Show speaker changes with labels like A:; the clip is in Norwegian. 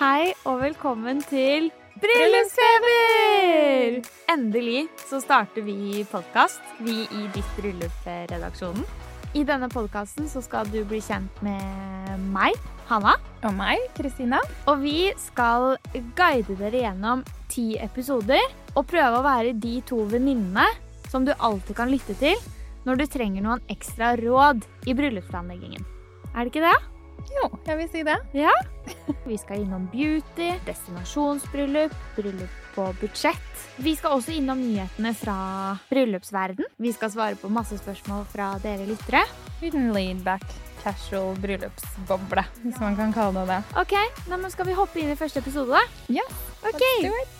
A: Hei og velkommen til Bryllupsfeber! Endelig så starter vi podkast, vi i Ditt bryllup-redaksjonen. I denne podkasten så skal du bli kjent med meg, Hanna.
B: Og meg, Kristina.
A: Og vi skal guide dere gjennom ti episoder og prøve å være de to venninnene som du alltid kan lytte til når du trenger noen ekstra råd i bryllupsplanleggingen. Er det ikke det?
B: Jo, jeg vil si det.
A: Vi skal innom beauty, destinasjonsbryllup, bryllup på budsjett. Vi skal også innom nyhetene fra bryllupsverden. Vi skal svare på masse spørsmål fra dere lyttere.
B: Liten laidback, casual bryllupsboble, hvis man kan kalle det det.
A: Ok, nei, men Skal vi hoppe inn i første episode, da?
B: Ja,
A: Ok,
B: do it.